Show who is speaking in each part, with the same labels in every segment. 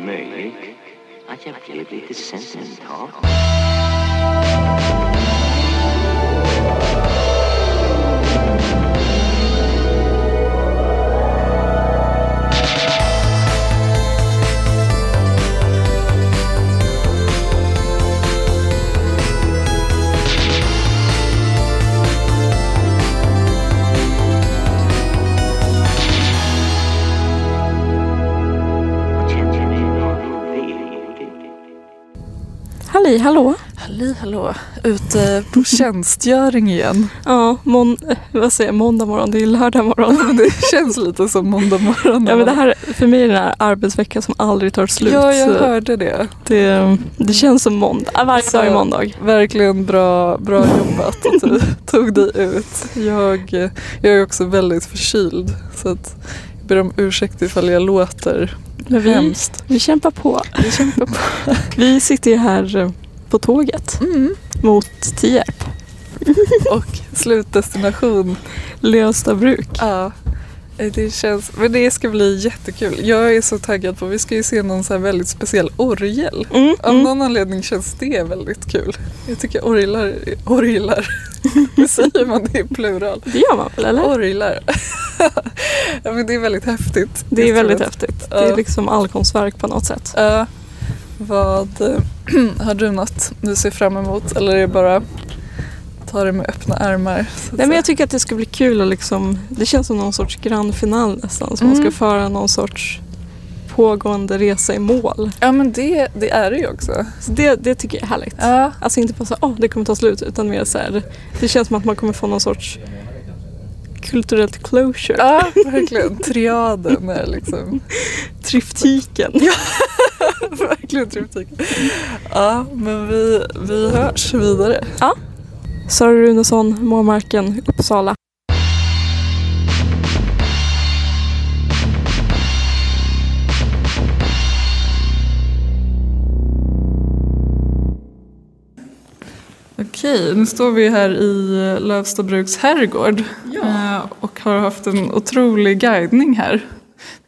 Speaker 1: möjligt att jag blev lite sentimental. Och kände mig väldigt
Speaker 2: Halli hallå!
Speaker 3: Halli hallå! eh, Ute på tjänstgöring igen.
Speaker 2: Ja, mon- eh, vad säger jag, måndag morgon, det är ju lördag morgon.
Speaker 3: Men det känns lite som måndag morgon.
Speaker 2: Ja men det här, för mig är det den här arbetsveckan som aldrig tar slut.
Speaker 3: ja, jag
Speaker 2: så
Speaker 3: hörde det.
Speaker 2: det, mm. det känns som måndag, Ah, varje
Speaker 3: Så-
Speaker 2: dag är måndag.
Speaker 3: Verkligen bra, bra jobbat att du tog dig ut. Jag, eh, jag är också väldigt förkyld så att jag ber om ursäkt ifall jag låter
Speaker 2: Men vi,
Speaker 3: hemskt.
Speaker 2: vi kämpar på.
Speaker 3: Jag kämpar på.
Speaker 2: Vi sitter ju här eh, på tåget
Speaker 3: Mm.
Speaker 2: mot Tierp,
Speaker 3: Och slutdestination
Speaker 2: Lövstabruk.
Speaker 3: Ja, det känns... Men det ska bli jättekul. Jag är så taggad på... Vi ska ju se någon så här väldigt speciell orgel.
Speaker 2: Mm,
Speaker 3: Av
Speaker 2: mm.
Speaker 3: någon anledning känns det väldigt kul. Jag tycker orglar... Orglar? Hur säger man det i plural?
Speaker 2: Det gör man väl eller?
Speaker 3: Orglar. ja, men det är väldigt häftigt.
Speaker 2: det är väldigt
Speaker 3: instrument.
Speaker 2: häftigt. Det är
Speaker 3: Ja.
Speaker 2: liksom allkonstverk på något sätt.
Speaker 3: Ja. Vad... har du något du ser fram emot? Eller är det bara... Ta det med öppna armar. så att
Speaker 2: Nej, men jag
Speaker 3: säga?
Speaker 2: tycker att det ska bli kul att liksom, det känns som någon sorts grand final nästan. Så man
Speaker 3: Mm.
Speaker 2: ska föra någon sorts pågående resa i mål.
Speaker 3: Ja men det, det är det ju också.
Speaker 2: Så det, det tycker jag är härligt.
Speaker 3: Ja,
Speaker 2: Alltså inte bara så åh oh, det kommer ta slut, utan mer så här, det känns som att man kommer få någon sorts kulturellt closure.
Speaker 3: Ja, verkligen. Triaden är liksom
Speaker 2: Triptyken.
Speaker 3: verkligen triptyken. Ja, men vi, vi hörs vidare.
Speaker 2: Sara Runesson, Måmarken, Uppsala.
Speaker 3: Okej, nu står vi här i Lövstabruks herrgård eh, och har haft en otrolig guidning här.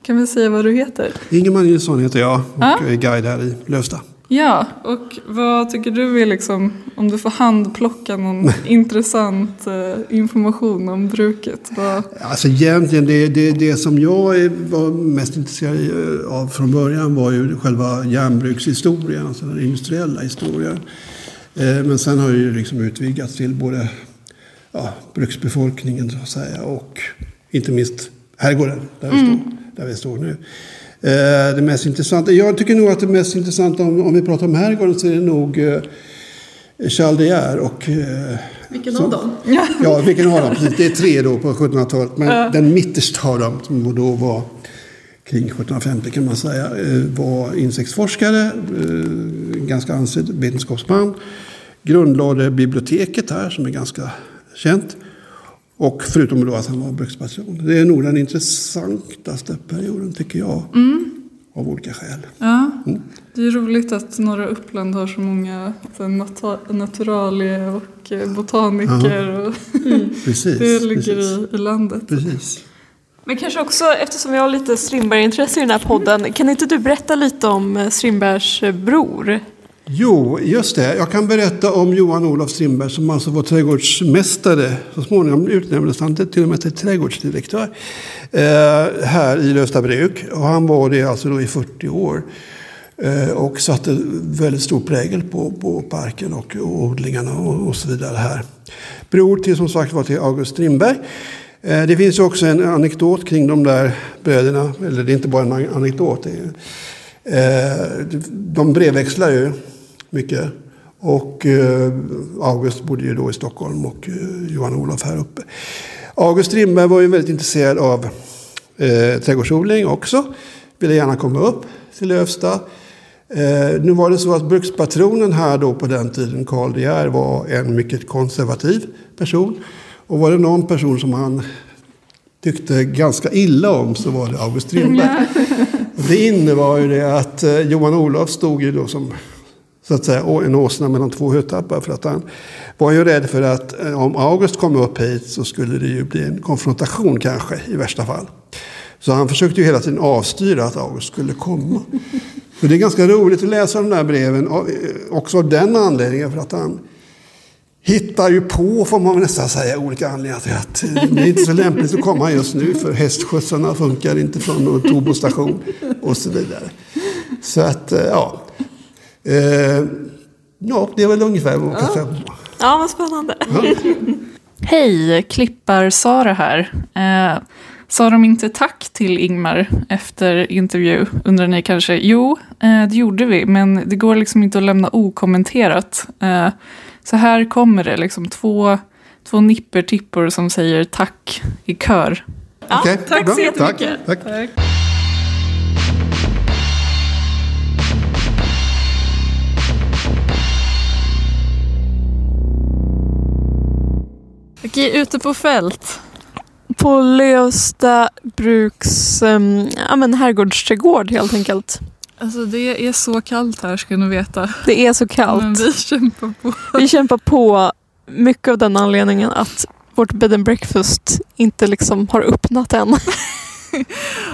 Speaker 3: Kan vi säga vad du heter?
Speaker 4: Ingemar Nilsson heter jag och
Speaker 3: Ja.
Speaker 4: jag är guide här i Lövsta.
Speaker 3: Ja, och vad tycker du är liksom, om du får handplocka någon intressant eh, information om bruket? Vad,
Speaker 4: Alltså egentligen, det, det, det som jag eh, var mest intresserad i, eh, av från början var ju själva järnbrukshistorien, alltså den industriella historien. Eh, Men sen har det ju liksom utvidgats till både ja, bruksbefolkningen så att säga och inte minst herrgården där vi står, där vi står nu. Eh, Det mest intressanta, jag tycker nog att det mest intressanta om, om vi pratar om herrgården så är det nog eh, Charles de Geer och... eh, som- Ja, vilken av dem? Precis, det är tre då på 1700-talet. Men den mittersta av dem, som då var kring 1750 kan man säga, eh, var insektsforskare, eh, ganska ansedd vetenskapsman. Grundlade biblioteket här, som är ganska känt. Och förutom då att han var bruksperson. Det är nog den intressantaste perioden, tycker jag.
Speaker 3: Mm.
Speaker 4: Av olika skäl.
Speaker 3: Ja, det är roligt att Norra Uppland har så många så här, nata- naturalie och eh, botaniker. Och
Speaker 4: Precis.
Speaker 3: det ligger
Speaker 4: precis.
Speaker 3: i, i landet.
Speaker 4: precis.
Speaker 2: Men kanske också, eftersom vi har lite strindbergintresse i den här podden, kan inte du berätta lite om eh, Strindbergs eh, bror?
Speaker 4: Jo, just det. Jag kan berätta om Johan Olof Strindberg som alltså var trädgårdsmästare. Så småningom utnämndes han till till och med till trädgårdsdirektör eh, här i Lövstabruk. Och han var det alltså då i 40 år eh, och satte väldigt stor prägel på, på parken och, och odlingarna och, och så vidare här. Bror till som sagt var till August Strindberg. Eh, Det finns ju också en anekdot kring de där bröderna, eller det är inte bara en an- anekdot. Det är, Eh, de brevväxlar ju mycket. Och eh, August bodde ju då i Stockholm och eh, Johan Olof här uppe. August Strindberg var ju väldigt intresserad av eh, trädgårdsodling också. Ville gärna komma upp till Lövsta. Eh, nu var det så att brukspatronen här då på den tiden, Karl De Geer, var en mycket konservativ person. Och var det någon person som han tyckte ganska illa om så var det August Strindberg. Och Det innebar ju det att eh, Johan Olof stod ju då som så att säga, å- en åsna mellan två hötappar. För att han var ju rädd för att eh, om August kom upp hit så skulle det ju bli en konfrontation kanske i värsta fall. Så han försökte ju hela tiden avstyra att August skulle komma. Så det är ganska roligt att läsa de där breven och, eh, också av den anledningen. För att han hittar ju på, får man väl nästan säga, olika anledningar till att det är inte så lämpligt att komma just nu för hästskjutsarna funkar inte från någon Tobo station och så vidare. Så att, eh, ja. Eh, Ja, det är väl ungefär vad man kan säga.
Speaker 2: Ja, vad spännande.
Speaker 4: Mm.
Speaker 3: Hej, Klippar-Sara här. Eh, sa de inte tack till Ingmar efter intervju, undrar ni kanske? Jo, eh, det gjorde vi, men det går liksom inte att lämna okommenterat. Eh, så här kommer det, liksom två, två nippertippor som säger tack i kör.
Speaker 2: Ja,
Speaker 4: Okej,
Speaker 2: tack
Speaker 4: bra.
Speaker 2: så jättemycket.
Speaker 4: Tack, tack.
Speaker 3: Okej, ute på fält.
Speaker 2: På Lövsta bruks um, ja, men herrgårdsträdgård helt enkelt.
Speaker 3: Alltså det är så kallt här ska ni veta.
Speaker 2: Det är så
Speaker 3: Men
Speaker 2: kallt.
Speaker 3: vi kämpar på.
Speaker 2: Vi kämpar på mycket av den anledningen att vårt bed and breakfast inte liksom har öppnat än.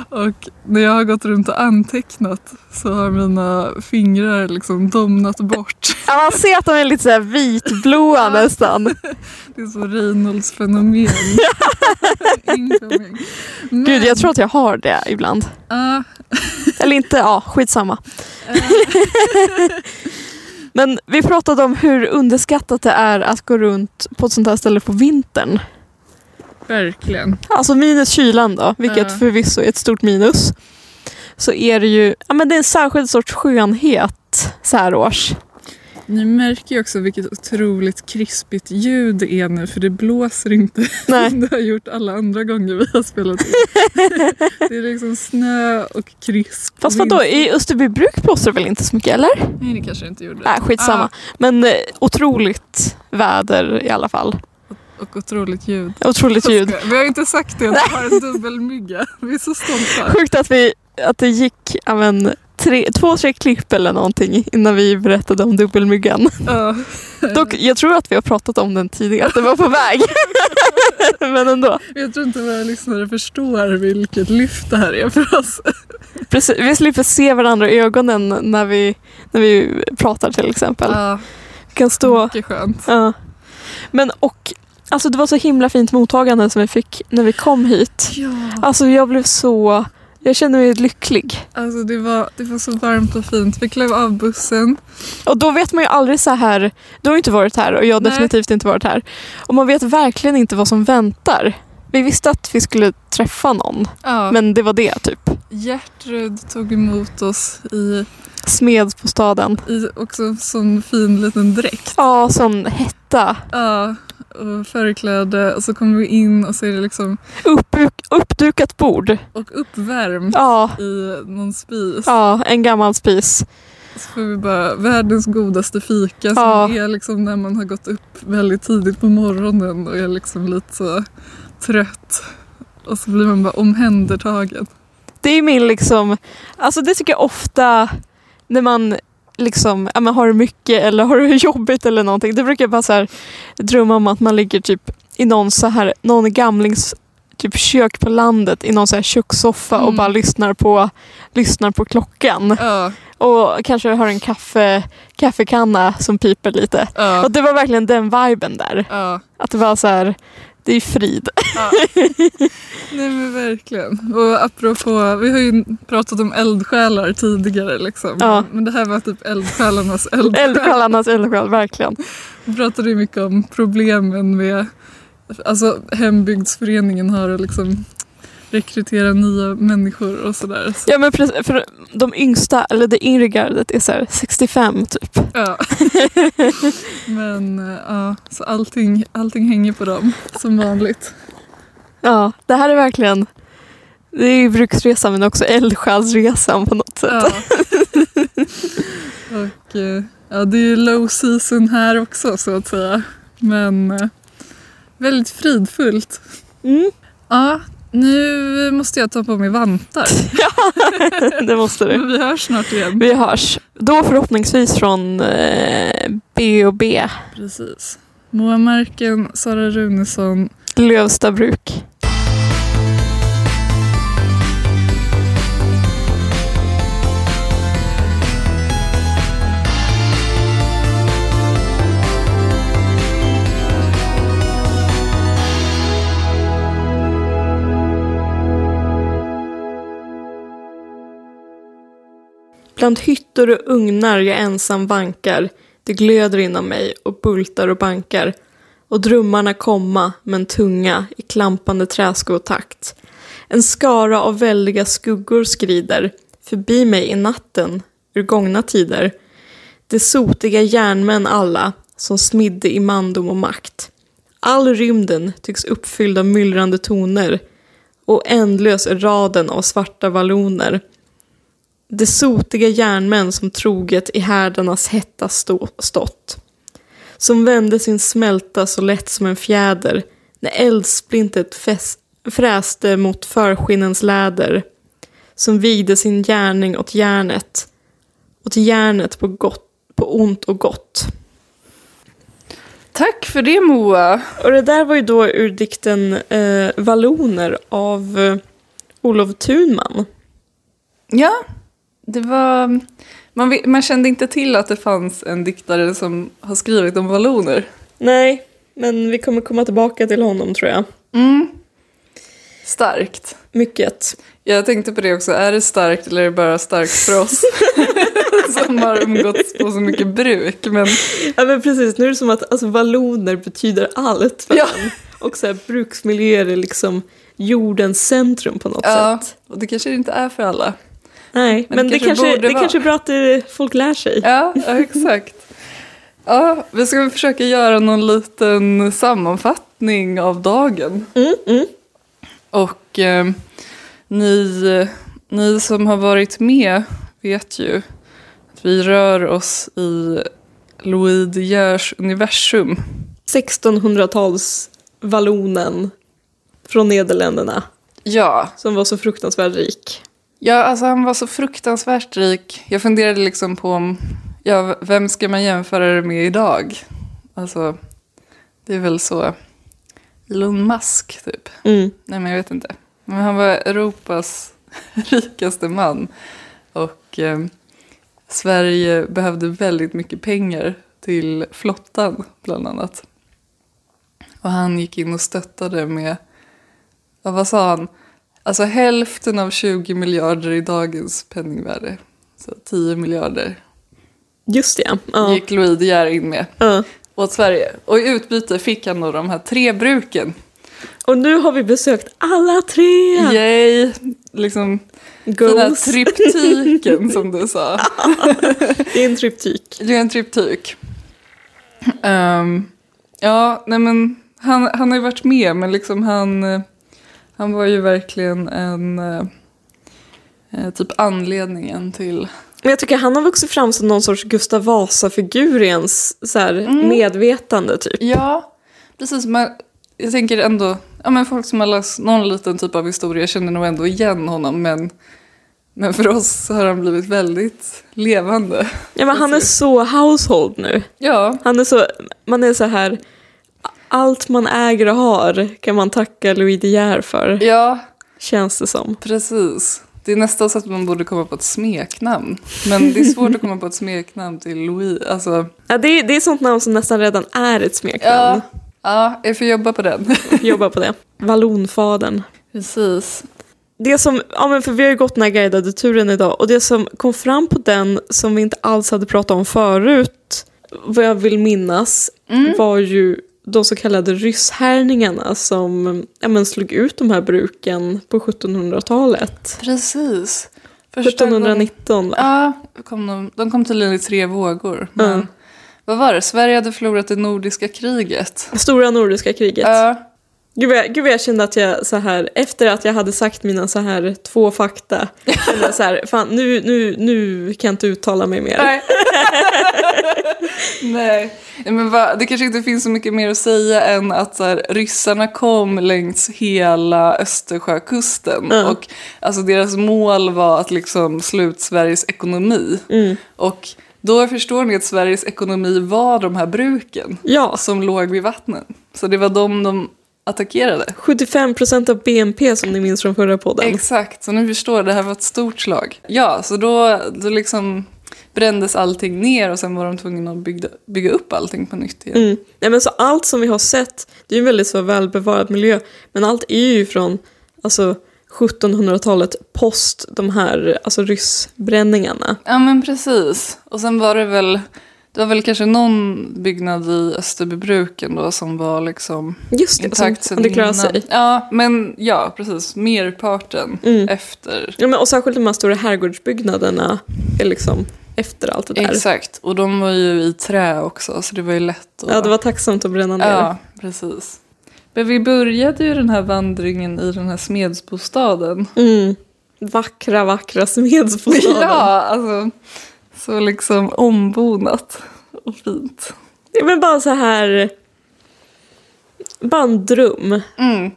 Speaker 3: Och när jag har gått runt och antecknat så har mina fingrar liksom domnat bort.
Speaker 2: Ja, man ser att de är lite så här vitblåa nästan.
Speaker 3: Det är så Reynolds fenomen. Incoming. Men,
Speaker 2: Gud, jag tror att jag har det ibland.
Speaker 3: ah,
Speaker 2: Eller inte, ja, skitsamma. Men vi pratade om hur underskattat det är att gå runt på ett sånt här ställe på vintern.
Speaker 3: verkligen.
Speaker 2: Alltså minus kylan då, vilket
Speaker 3: Ja.
Speaker 2: förvisso är ett stort minus. Så är det ju, ja men det är en särskild sorts skönhet så här års.
Speaker 3: Ni märker ju också vilket otroligt krispigt ljud det är nu för det blåser inte
Speaker 2: Nej.
Speaker 3: som det har gjort alla andra gånger vi har spelat in. det är liksom snö och krisp.
Speaker 2: Fast vadå, i Österbybruk blåser det väl inte så mycket eller?
Speaker 3: Nej det kanske det Ah, inte gjorde.
Speaker 2: Nej, Ah, skitsamma. Men eh, otroligt väder i alla fall.
Speaker 3: Ah, och otroligt ljud.
Speaker 2: Otroligt ljud.
Speaker 3: Vi har inte sagt det, vi har en dubbelmygga. Vi är så stolta.
Speaker 2: Sjukt att, vi, att det gick ja, men, tre, två, tre klipp eller någonting innan vi berättade om dubbelmyggan.
Speaker 3: Ja.
Speaker 2: Dock, jag tror att vi har pratat om den tidigare, att den var på väg. men ändå.
Speaker 3: Jag tror inte våra lyssnare förstår vilket lyft det här är för oss.
Speaker 2: Precis, vi slipper se varandra i ögonen när vi, när vi pratar till exempel.
Speaker 3: Ja,
Speaker 2: Vi kan stå...
Speaker 3: Ah, mycket skönt.
Speaker 2: Ja. Men och, alltså det var så himla fint mottagande som vi fick när vi kom hit.
Speaker 3: Ja,
Speaker 2: Alltså jag blev så... Jag kände mig lycklig.
Speaker 3: alltså det var, det var så varmt och fint. Vi klev av bussen.
Speaker 2: Och då vet man ju aldrig så här, du har ju inte varit här och jag har
Speaker 3: Nej.
Speaker 2: definitivt inte varit här. Och man vet verkligen inte vad som väntar. Vi visste att vi skulle träffa någon,
Speaker 3: Ja,
Speaker 2: men det var det typ.
Speaker 3: Gertrud tog emot oss i,
Speaker 2: Smed på staden.
Speaker 3: i också sån fin liten dräkt.
Speaker 2: Ja, sån hetta.
Speaker 3: Ja, och förkläde och så kommer vi in och så är det liksom
Speaker 2: Upp, uppdukat bord.
Speaker 3: och uppvärmt
Speaker 2: Ja,
Speaker 3: i någon spis.
Speaker 2: ja, en gammal spis.
Speaker 3: Så får vi bara världens godaste fika som
Speaker 2: Ja.
Speaker 3: är liksom när man har gått upp väldigt tidigt på morgonen och är liksom lite så trött. Och så blir man bara omhändertagen.
Speaker 2: Det är min liksom, alltså det tycker jag ofta när man liksom, ja, men har det mycket eller har det jobbigt eller någonting. Det brukar jag bara så här drömma om att man ligger typ i någon så här, någon gamlings typ kök på landet i någon så här kökssoffa och
Speaker 3: Mm.
Speaker 2: bara lyssnar på, lyssnar på klockan.
Speaker 3: Ja,
Speaker 2: Och kanske har en kaffe, kaffekanna som piper lite.
Speaker 3: ja,
Speaker 2: Och det var verkligen den viben där.
Speaker 3: ja.
Speaker 2: Att det var så här, det är frid.
Speaker 3: Nej men verkligen. Och apropå, vi har ju pratat om eldsjälar tidigare liksom.
Speaker 2: Ja.
Speaker 3: Men det här var typ eldsjälarnas eldsjäl.
Speaker 2: Eldsjälarnas eldsjäl, verkligen.
Speaker 3: Vi pratade ju mycket om problemen med, alltså hembygdsföreningen har att liksom rekrytera nya människor och sådär. Så,
Speaker 2: Ja men precis, för de yngsta, eller det yngre gardet är så här 65 typ.
Speaker 3: ja. Men eh, ja, så allting, allting hänger på dem som vanligt.
Speaker 2: Ja, det här är verkligen, det är ju bruksresan men också eldsjälsresan på något sätt.
Speaker 3: Ja. Och eh, ja, det är ju low season här också så att säga. Men eh, väldigt fridfullt.
Speaker 2: Mm.
Speaker 3: Ja, nu måste jag ta på mig vantar.
Speaker 2: Det måste du.
Speaker 3: Men vi hörs snart igen.
Speaker 2: Vi hörs. Då förhoppningsvis från eh, B&B
Speaker 3: Precis. Moa Marken, Sara Runesson.
Speaker 2: Lövsta bruk. Bland hyttor och ugnar jag ensam vankar. Det glöder inom mig och bultar och bankar. Och drömmarna komma, men tunga, i klampande träskotakt. En skara av väldiga skuggor skrider förbi mig i natten, ur gångna tider. De sotiga järnmän alla, som smidde i mandom och makt. All rymden tycks uppfylld av myllrande toner och ändlös är raden av svarta valloner. De sotiga järnmän som troget i härdarnas hetta stå, stått. Som vände sin smälta så lätt som en fjäder när eldsplintet fäs- fräste mot förskinnens läder. Som vigde sin gärning åt järnet, åt järnet på, gott, på ont och gott.
Speaker 3: Tack för det Moa.
Speaker 2: Och det där var ju då ur dikten eh, Valloner av eh, Olof Thunman.
Speaker 3: Ja, det var... Man, vi- man kände inte till att det fanns en diktare som har skrivit om valloner.
Speaker 2: Nej, men vi kommer komma tillbaka till honom tror jag.
Speaker 3: Mm. Starkt.
Speaker 2: Mycket.
Speaker 3: Jag tänkte på det också, är det starkt eller är det bara starkt för oss som har umgåtts på så mycket bruk? Men
Speaker 2: Ja men precis, nu är det som att alltså, valloner betyder allt för
Speaker 3: Ja.
Speaker 2: en. Och så här, bruksmiljöer är liksom jordens centrum på något
Speaker 3: ja,
Speaker 2: sätt.
Speaker 3: och det kanske det inte är för alla.
Speaker 2: Nej, men, det, kanske,
Speaker 3: borde
Speaker 2: det
Speaker 3: vara.
Speaker 2: kanske är bra att det, folk lär sig.
Speaker 3: Ja, ja exakt. Ja, vi ska väl försöka göra någon liten sammanfattning av dagen. mm. Och eh, ni, ni som har varit med vet ju att vi rör oss i Louis De Geers universum.
Speaker 2: 1600-tals vallonen från Nederländerna
Speaker 3: Ja,
Speaker 2: som var så fruktansvärt rik.
Speaker 3: Ja, alltså han var så fruktansvärt rik. Jag funderade liksom på om, ja, v- vem ska man jämföra det med idag? Alltså, det är väl så Elon Musk typ.
Speaker 2: Mm.
Speaker 3: Nej, men jag vet inte. Men han var Europas rikaste man. Och eh, Sverige behövde väldigt mycket pengar till flottan, bland annat. Och han gick in och stöttade med, ja, vad sa han? Alltså hälften av 20 miljarder i dagens penningvärde, så 10 miljarder,
Speaker 2: Just det, ja.
Speaker 3: gick Louis De Geer in med
Speaker 2: ja.
Speaker 3: åt Sverige. Och i utbyte fick han då de här tre bruken.
Speaker 2: Och nu har vi besökt alla tre!
Speaker 3: Yay! Liksom, Den här
Speaker 2: Goals.
Speaker 3: tryptyken som du sa.
Speaker 2: Det är en tryptik.
Speaker 3: Det är en tryptyk. Ehm, ja, nej men han, han har ju varit med men liksom han, eh, han var ju verkligen en eh, eh, typ anledningen till.
Speaker 2: Men jag tycker han har vuxit fram som någon sorts Gustav Vasa-figur i ens så här,
Speaker 3: Mm.
Speaker 2: medvetande typ.
Speaker 3: Ja, precis. Men jag tänker ändå, ja men folk som har läst någon liten typ av historia känner nog ändå igen honom men, men för oss har han blivit väldigt levande.
Speaker 2: Ja, men han är så household nu.
Speaker 3: Ja,
Speaker 2: Han är så, man är så här, allt man äger och har kan man tacka Louis De Geer för,
Speaker 3: ja
Speaker 2: känns det som.
Speaker 3: Precis. Det är nästan så att man borde komma på ett smeknamn. Men det är svårt att komma på ett smeknamn till Louis. Alltså,
Speaker 2: Ja, det, är, det är sånt namn som nästan redan är ett smeknamn.
Speaker 3: ja, ja, jag får jobba på den.
Speaker 2: Jobba på det. Vallonfadern.
Speaker 3: Precis.
Speaker 2: det som, ja men för vi har ju gått den här guidade turen idag och det som kom fram på den som vi inte alls hade pratat om förut, vad jag vill minnas,
Speaker 3: Mm.
Speaker 2: var ju de så kallade rysshärningarna som ja, men slog ut de här bruken på 1700-talet.
Speaker 3: Precis. Första gången-
Speaker 2: 1719 va?
Speaker 3: Ja, kom de, de kom tydligen i tre vågor. Men
Speaker 2: Mm.
Speaker 3: vad var det? Sverige hade förlorat det nordiska kriget.
Speaker 2: Stora nordiska kriget.
Speaker 3: Ja,
Speaker 2: Gud, vad jag, gud vad jag kände att jag så här, efter att jag hade sagt mina så här två fakta, kände jag så här, fan nu, nu, nu kan jag inte uttala mig mer.
Speaker 3: Nej. Nej. Nej, men va, det kanske inte finns så mycket mer att säga än att så här, ryssarna kom längs hela Östersjökusten.
Speaker 2: Mm.
Speaker 3: Och alltså, deras mål var att liksom slå ut Sveriges ekonomi. Och då förstår ni att Sveriges ekonomi var de här bruken
Speaker 2: Ja,
Speaker 3: som låg vid vattnet. Så det var de de attackerade.
Speaker 2: 75% av BNP som ni minns från förra podden.
Speaker 3: Exakt, så nu förstår jag, det här var ett stort slag. Ja, så då, då liksom brändes allting ner och sen var de tvungna att bygga, bygga upp allting på nytt igen.
Speaker 2: Mm. Nej, men så allt som vi har sett, det är ju en väldigt så välbevarad miljö, men allt är ju från alltså, 1700-talet post de här alltså, ryssbränningarna.
Speaker 3: Ja men precis. Och sen var det väl, det var väl kanske någon byggnad i Österbybruken då som var liksom
Speaker 2: Just det, som
Speaker 3: intakt sen
Speaker 2: hade klarat
Speaker 3: innan.
Speaker 2: sig.
Speaker 3: Ja men ja precis, merparten
Speaker 2: Mm.
Speaker 3: efter.
Speaker 2: Ja, men, och särskilt de här stora herrgårdsbyggnaderna är liksom efter allt det där.
Speaker 3: Exakt, och de var ju i trä också så det var ju lätt att...
Speaker 2: Ja, det var tacksamt att bränna ner.
Speaker 3: Ja, precis. Men vi började ju den här vandringen i den här smedsbostaden.
Speaker 2: Mm. Vackra, vackra smedsbostaden.
Speaker 3: Ja, alltså. Så liksom ombonat och fint.
Speaker 2: Ja, men bara så här... Bara en dröm.
Speaker 3: Mm.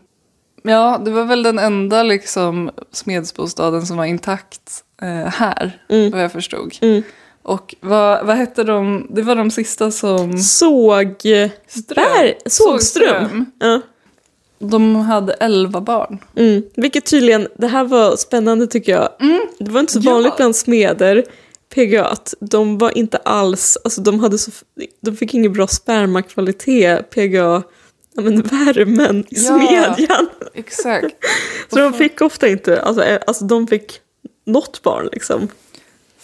Speaker 3: Ja, det var väl den enda liksom smedsbostaden som var intakt eh, här,
Speaker 2: Mm.
Speaker 3: vad jag förstod.
Speaker 2: Mm.
Speaker 3: Och vad, vad hette de? Det var de sista som...
Speaker 2: Såg... eh, Bär, sågström.
Speaker 3: Sågström.
Speaker 2: Ja.
Speaker 3: De hade elva barn.
Speaker 2: Mm. Vilket tydligen, det här var spännande tycker jag. Det var inte så
Speaker 3: Mm. Ja.
Speaker 2: vanligt bland smeder, PGA, att de var inte alls, alltså de, hade så, de fick ingen bra spermakvalitet, PGA, ja, men värmen i
Speaker 3: Ja.
Speaker 2: smedjan.
Speaker 3: Exakt.
Speaker 2: Så de fick ofta inte, alltså, eh, alltså de fick något barn liksom.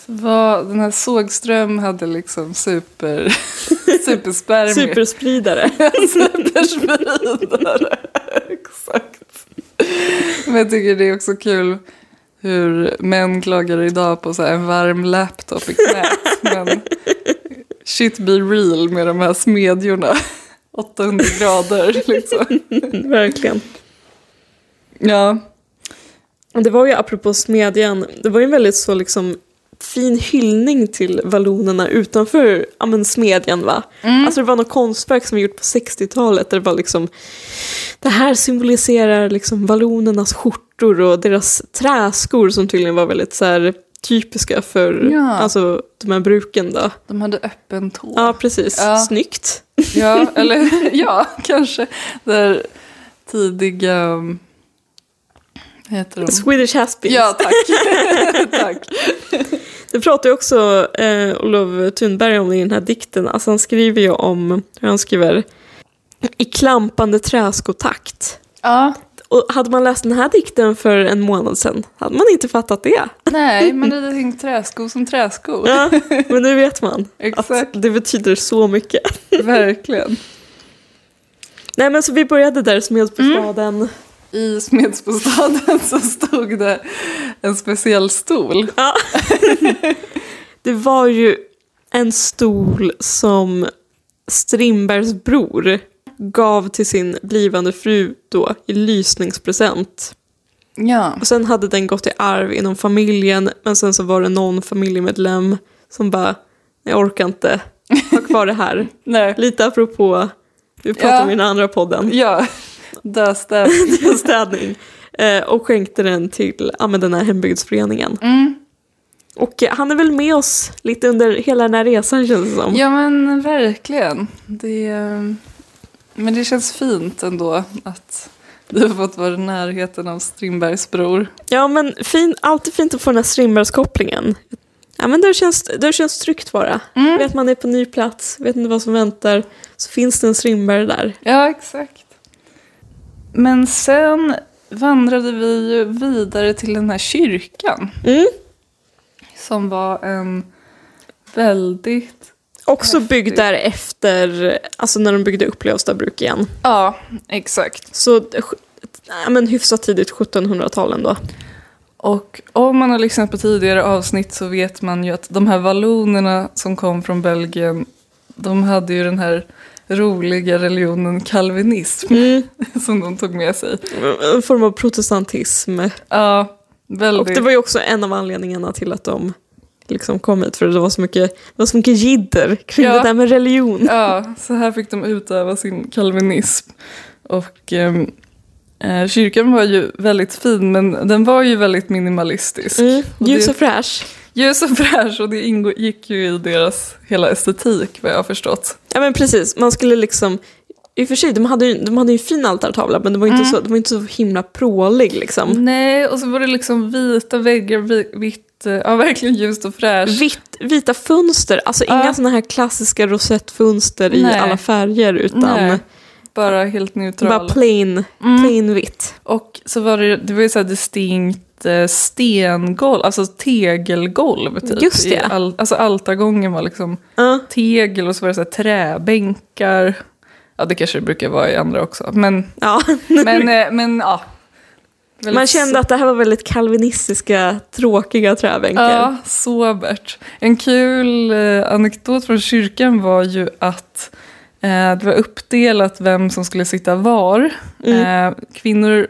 Speaker 3: Så var, den här Sågström hade liksom super, superspermier.
Speaker 2: Superspridare.
Speaker 3: Superspridare. Exakt. Men jag tycker det är också kul hur män klagar idag på så här en varm laptop i knät. Men shit be real med de här smedjorna. 800 grader liksom.
Speaker 2: Verkligen.
Speaker 3: Ja,
Speaker 2: Och Det var ju apropå smedjan, det var ju en väldigt så liksom fin hyllning till vallonerna utanför ja, men smedjan va?
Speaker 3: Mm.
Speaker 2: Alltså det var något konstverk som var gjort på 60-talet där det var liksom det här symboliserar liksom vallonernas skjortor och deras träskor som tydligen var väldigt så här, typiska för
Speaker 3: Ja.
Speaker 2: alltså, de här bruken då.
Speaker 3: de hade öppen tå.
Speaker 2: Ja precis,
Speaker 3: Ja.
Speaker 2: snyggt.
Speaker 3: Ja, eller ja, kanske. Där tidiga... um, Vad heter de?
Speaker 2: Swedish Haspins.
Speaker 3: Ja, tack. tack.
Speaker 2: Det pratar ju också eh, Olof Thunberg om i den här dikten. Alltså han skriver ju om, hur han skriver, i klampande träskotakt.
Speaker 3: Ja,
Speaker 2: Och hade man läst den här dikten för en månad sedan hade man inte fattat det.
Speaker 3: nej, men det är tänkt träsko som träsko.
Speaker 2: Ja, men nu vet man
Speaker 3: Exakt,
Speaker 2: att det betyder så mycket.
Speaker 3: verkligen.
Speaker 2: Nej men så vi började där Smedsbostaden.
Speaker 3: I Smedsbostaden så stod det en speciell stol.
Speaker 2: Det var ju en stol som Strindbergs bror gav till sin blivande fru då i lysningspresent.
Speaker 3: Ja.
Speaker 2: Och sen hade den gått i arv inom familjen men sen så var det någon familjemedlem som bara, jag orkar inte ha kvar det här.
Speaker 3: Nej.
Speaker 2: Lite apropå, vi pratade
Speaker 3: Ja.
Speaker 2: om i den andra podden,
Speaker 3: Ja. Döstäv.
Speaker 2: städning. Eh, och skänkte den till ja, men den här hembygdsföreningen.
Speaker 3: Mm.
Speaker 2: Och eh, han är väl med oss lite under hela den här resan känns det som.
Speaker 3: Ja, men verkligen. Det, eh, men det känns fint ändå att du har fått vara i närheten av Strindbergs bror.
Speaker 2: Ja men fin, alltid fint att få den här Strindbergskopplingen. Ja men där känns, där känns tryggt bara.
Speaker 3: Mm.
Speaker 2: Vet man är på ny plats, vet inte vad som väntar, så finns det en Strindberg där.
Speaker 3: Ja, exakt. Men sen vandrade vi ju vidare till den här kyrkan
Speaker 2: Mm.
Speaker 3: som var en väldigt...
Speaker 2: Också byggd där efter, alltså när de byggde upp Lövstabruk igen.
Speaker 3: Ja, exakt.
Speaker 2: Så eh, sj- ja, men hyfsat tidigt 1700-tal ändå.
Speaker 3: Och om man har lyssnat på tidigare avsnitt så vet man ju att de här vallonerna som kom från Belgien, de hade ju den här roliga religionen kalvinism
Speaker 2: Mm.
Speaker 3: som de tog med sig.
Speaker 2: En form av protestantism.
Speaker 3: Ja,
Speaker 2: Och
Speaker 3: väldigt.
Speaker 2: det var ju också en av anledningarna till att de liksom kom hit, för det var så mycket, det var så mycket jidder kring
Speaker 3: Ja.
Speaker 2: det där med religion.
Speaker 3: Ja, så här fick de utöva sin kalvinism. Och ehm, eh, kyrkan var ju väldigt fin, men den var ju väldigt minimalistisk.
Speaker 2: Mm.
Speaker 3: Och
Speaker 2: Ljus
Speaker 3: det-
Speaker 2: och fräsch.
Speaker 3: Ljus och fräsch, och det ingick ju i deras hela estetik, vad jag har förstått.
Speaker 2: Ja men precis, man skulle liksom i och för sig, de hade ju, de hade ju en fin altartavla men de var inte,
Speaker 3: Mm.
Speaker 2: så, de var inte så himla prålig liksom.
Speaker 3: Nej, och så var det liksom vita väggar, vi- vitt, eh, ja verkligen ljust och fräscht.
Speaker 2: Vitt, vita fönster, alltså
Speaker 3: Ja.
Speaker 2: inga såna här klassiska rosettfönster i
Speaker 3: Nej.
Speaker 2: alla färger utan
Speaker 3: Nej. bara helt neutral.
Speaker 2: Bara plain,
Speaker 3: Mm.
Speaker 2: plain vitt.
Speaker 3: Och så var det, det var ju så här distinkt eh, stengolv, alltså tegelgolv typ.
Speaker 2: Just det.
Speaker 3: I Al, alltså altargången var liksom
Speaker 2: Ja.
Speaker 3: tegel och så var det så här träbänkar. Ja, det kanske det brukar vara i andra också. Men,
Speaker 2: Ja.
Speaker 3: men, eh, men ja. Väldigt
Speaker 2: Man kände att det här var väldigt kalvinistiska, tråkiga träbänkar.
Speaker 3: Ja, sobert. En kul eh, anekdot från kyrkan var ju att eh, det var uppdelat vem som skulle sitta var. Eh, kvinnor